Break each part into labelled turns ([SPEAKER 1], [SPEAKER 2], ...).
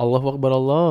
[SPEAKER 1] Allah Akbar Allah.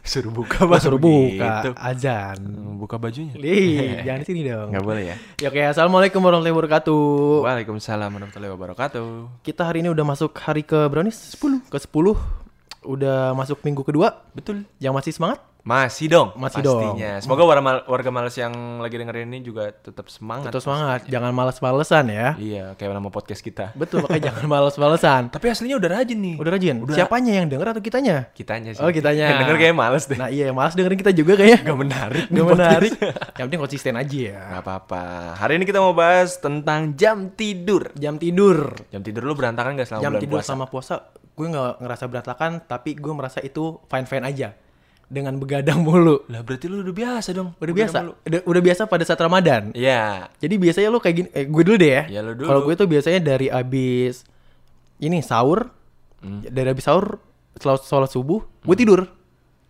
[SPEAKER 2] Suruh buka
[SPEAKER 1] Gua
[SPEAKER 2] baru
[SPEAKER 1] suruh
[SPEAKER 2] gitu.
[SPEAKER 1] buka azan.
[SPEAKER 2] Hmm, Buka bajunya.
[SPEAKER 1] Lih, jangan di sini dong.
[SPEAKER 2] Nggak boleh ya.
[SPEAKER 1] Ya oke, assalamualaikum warahmatullahi wabarakatuh.
[SPEAKER 2] Waalaikumsalam warahmatullahi wabarakatuh.
[SPEAKER 1] Kita hari ini udah masuk hari ke Brownies 10 ke 10 udah masuk minggu kedua.
[SPEAKER 2] Betul.
[SPEAKER 1] Yang masih semangat?
[SPEAKER 2] Masih dong.
[SPEAKER 1] Masih
[SPEAKER 2] pastinya. Semoga warga, mal- warga malas yang lagi dengerin ini juga tetap semangat.
[SPEAKER 1] Tetap semangat, jangan malas-malesan ya.
[SPEAKER 2] Iya, kayak nama podcast kita.
[SPEAKER 1] Betul, makanya jangan malas-malesan.
[SPEAKER 2] Hmm, Tapi aslinya udah rajin nih.
[SPEAKER 1] Udah rajin. Siapanya yang denger atau kitanya?
[SPEAKER 2] Kitanya sih.
[SPEAKER 1] Oh, kitanya.
[SPEAKER 2] Yang denger kayak males deh.
[SPEAKER 1] Nah, iya yang malas dengerin kita juga kayaknya.
[SPEAKER 2] Gak menarik.
[SPEAKER 1] Gak menarik. yang penting konsisten aja ya.
[SPEAKER 2] Gak apa-apa. Hari ini kita mau bahas tentang jam tidur.
[SPEAKER 1] Jam tidur.
[SPEAKER 2] Jam tidur lu berantakan gak selama
[SPEAKER 1] jam
[SPEAKER 2] Nah, bulan
[SPEAKER 1] tidur
[SPEAKER 2] puasa?
[SPEAKER 1] sama puasa gue nggak ngerasa berantakan tapi gue merasa itu fine fine aja dengan begadang mulu
[SPEAKER 2] Lah berarti lu udah biasa dong.
[SPEAKER 1] udah biasa udah, udah biasa pada saat ramadan
[SPEAKER 2] Iya.
[SPEAKER 1] jadi biasanya lo kayak gini eh, gue dulu deh ya,
[SPEAKER 2] Ya, lo dulu.
[SPEAKER 1] kalau gue tuh biasanya dari abis ini sahur
[SPEAKER 2] Hmm.
[SPEAKER 1] dari abis sahur setelah sholat subuh gue tidur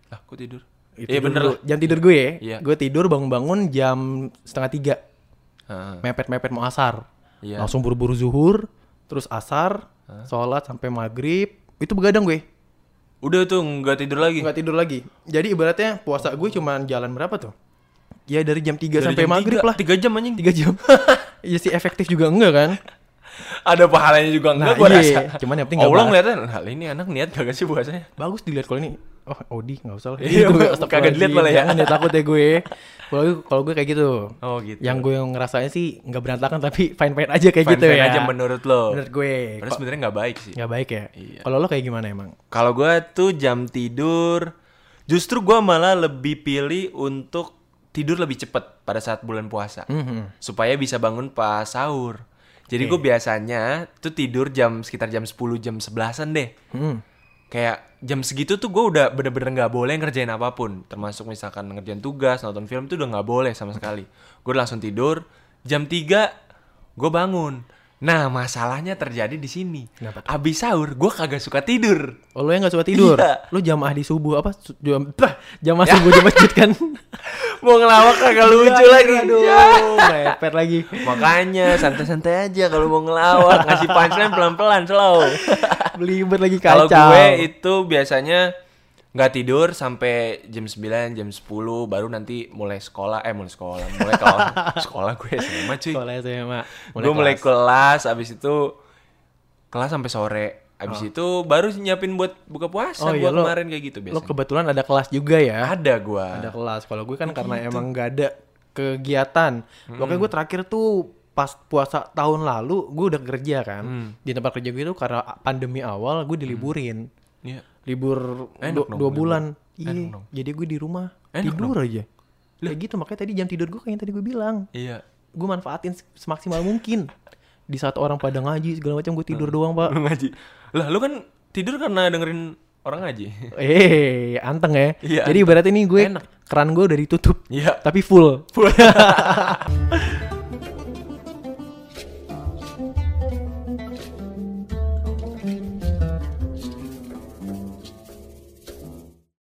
[SPEAKER 2] Lah, kok tidur? Hmm.
[SPEAKER 1] Itu
[SPEAKER 2] Iya
[SPEAKER 1] dulu.
[SPEAKER 2] bener lah.
[SPEAKER 1] jam tidur gue ya
[SPEAKER 2] Iya.
[SPEAKER 1] gue tidur bangun bangun jam setengah tiga
[SPEAKER 2] Heeh.
[SPEAKER 1] mepet mepet mau asar
[SPEAKER 2] Iya.
[SPEAKER 1] langsung buru buru zuhur terus asar sholat sampai maghrib itu begadang gue
[SPEAKER 2] Udah tuh nggak tidur lagi.
[SPEAKER 1] nggak tidur lagi. Jadi ibaratnya puasa gue cuman jalan berapa tuh? Ya dari jam 3
[SPEAKER 2] Dari
[SPEAKER 1] sampai
[SPEAKER 2] jam
[SPEAKER 1] maghrib
[SPEAKER 2] tiga-
[SPEAKER 1] lah.
[SPEAKER 2] Tiga jam anjing.
[SPEAKER 1] 3 jam. ya sih efektif juga enggak kan?
[SPEAKER 2] Ada pahalanya juga enggak
[SPEAKER 1] Nah,
[SPEAKER 2] gua
[SPEAKER 1] iya.
[SPEAKER 2] rasa.
[SPEAKER 1] Cuman yang penting nggak
[SPEAKER 2] Allah
[SPEAKER 1] bahas.
[SPEAKER 2] ngeliatnya, hal ini anak niat kagak sih puasanya?
[SPEAKER 1] Bagus dilihat kalau ini. Oh, Odi nggak usah lah.
[SPEAKER 2] Iya,
[SPEAKER 1] Gitu,
[SPEAKER 2] kagak
[SPEAKER 1] astagfirullahaladzim.
[SPEAKER 2] dilihat malah ya.
[SPEAKER 1] Jangan deh, takut ya gue. Kalau gue, kalau gue kayak gitu.
[SPEAKER 2] Oh gitu.
[SPEAKER 1] Yang gue ngerasain sih nggak berantakan tapi fine-fine aja kayak gitu
[SPEAKER 2] Fan-fan
[SPEAKER 1] ya.
[SPEAKER 2] aja menurut lo.
[SPEAKER 1] Menurut gue.
[SPEAKER 2] Padahal
[SPEAKER 1] Kok-
[SPEAKER 2] sebenarnya nggak baik sih.
[SPEAKER 1] Nggak baik ya.
[SPEAKER 2] Iya.
[SPEAKER 1] Kalau lo kayak gimana emang?
[SPEAKER 2] Kalau gue tuh jam tidur, justru gue malah lebih pilih untuk tidur lebih cepet pada saat bulan puasa, supaya bisa bangun pas sahur. Jadi gue biasanya tuh tidur jam sekitar jam 10 jam 11-an deh.
[SPEAKER 1] Hmm.
[SPEAKER 2] Kayak jam segitu tuh gue udah bener-bener nggak boleh ngerjain apapun, termasuk misalkan ngerjain tugas, nonton film tuh udah nggak boleh sama sekali. Gue langsung tidur. Jam 3 gue bangun. Nah masalahnya terjadi di sini.
[SPEAKER 1] Kenapa
[SPEAKER 2] Abis sahur gue kagak suka tidur.
[SPEAKER 1] Oh, lo yang gak suka tidur?
[SPEAKER 2] Iya.
[SPEAKER 1] Lo jamaah di subuh apa? Su- Jam, jamaah subuh di masjid kan?
[SPEAKER 2] Mau ngelawak kagak lucu lagi.
[SPEAKER 1] Aduh,
[SPEAKER 2] Ya.
[SPEAKER 1] mepet lagi.
[SPEAKER 2] Makanya santai-santai aja kalau mau ngelawak, ngasih punchline pelan-pelan slow.
[SPEAKER 1] Belibet lagi
[SPEAKER 2] Kalau
[SPEAKER 1] kacau.
[SPEAKER 2] gue itu biasanya nggak tidur sampai jam 9, jam 10 baru nanti mulai sekolah, eh mulai sekolah, mulai kelas. sekolah gue SMA cuy.
[SPEAKER 1] sekolah SMA.
[SPEAKER 2] gue mulai kelas abis itu kelas sampai sore. Abis itu baru nyiapin buat buka puasa
[SPEAKER 1] Oh, iya,
[SPEAKER 2] gua
[SPEAKER 1] lo-
[SPEAKER 2] kemarin kayak gitu
[SPEAKER 1] Lo
[SPEAKER 2] biasanya.
[SPEAKER 1] kebetulan ada kelas juga ya?
[SPEAKER 2] Ada Gitu, gua.
[SPEAKER 1] Ada kelas. Kalau gue kan karena emang gak ada kegiatan.
[SPEAKER 2] Hmm.
[SPEAKER 1] Pokoknya gue terakhir tuh pas puasa tahun lalu gue udah kerja kan.
[SPEAKER 2] Hmm.
[SPEAKER 1] Di tempat kerja gue itu karena pandemi awal gue diliburin.
[SPEAKER 2] Iya.
[SPEAKER 1] Libur
[SPEAKER 2] Hmm. Enak
[SPEAKER 1] du-
[SPEAKER 2] dong,
[SPEAKER 1] dua
[SPEAKER 2] libur.
[SPEAKER 1] bulan.
[SPEAKER 2] Enak
[SPEAKER 1] Iya.
[SPEAKER 2] dong.
[SPEAKER 1] Jadi gue di rumah
[SPEAKER 2] Enak
[SPEAKER 1] tidur aja. Kayak gitu makanya tadi jam tidur gue kayak yang tadi gue bilang.
[SPEAKER 2] Iya.
[SPEAKER 1] gue manfaatin se- semaksimal mungkin di saat orang pada ngaji segala macam gue tidur doang pak
[SPEAKER 2] Lu ngaji. Lah lu kan tidur karena dengerin orang ngaji.
[SPEAKER 1] eh anteng ya
[SPEAKER 2] Iya,
[SPEAKER 1] jadi ibaratnya nih gue keran gue udah ditutup
[SPEAKER 2] Iya.
[SPEAKER 1] tapi full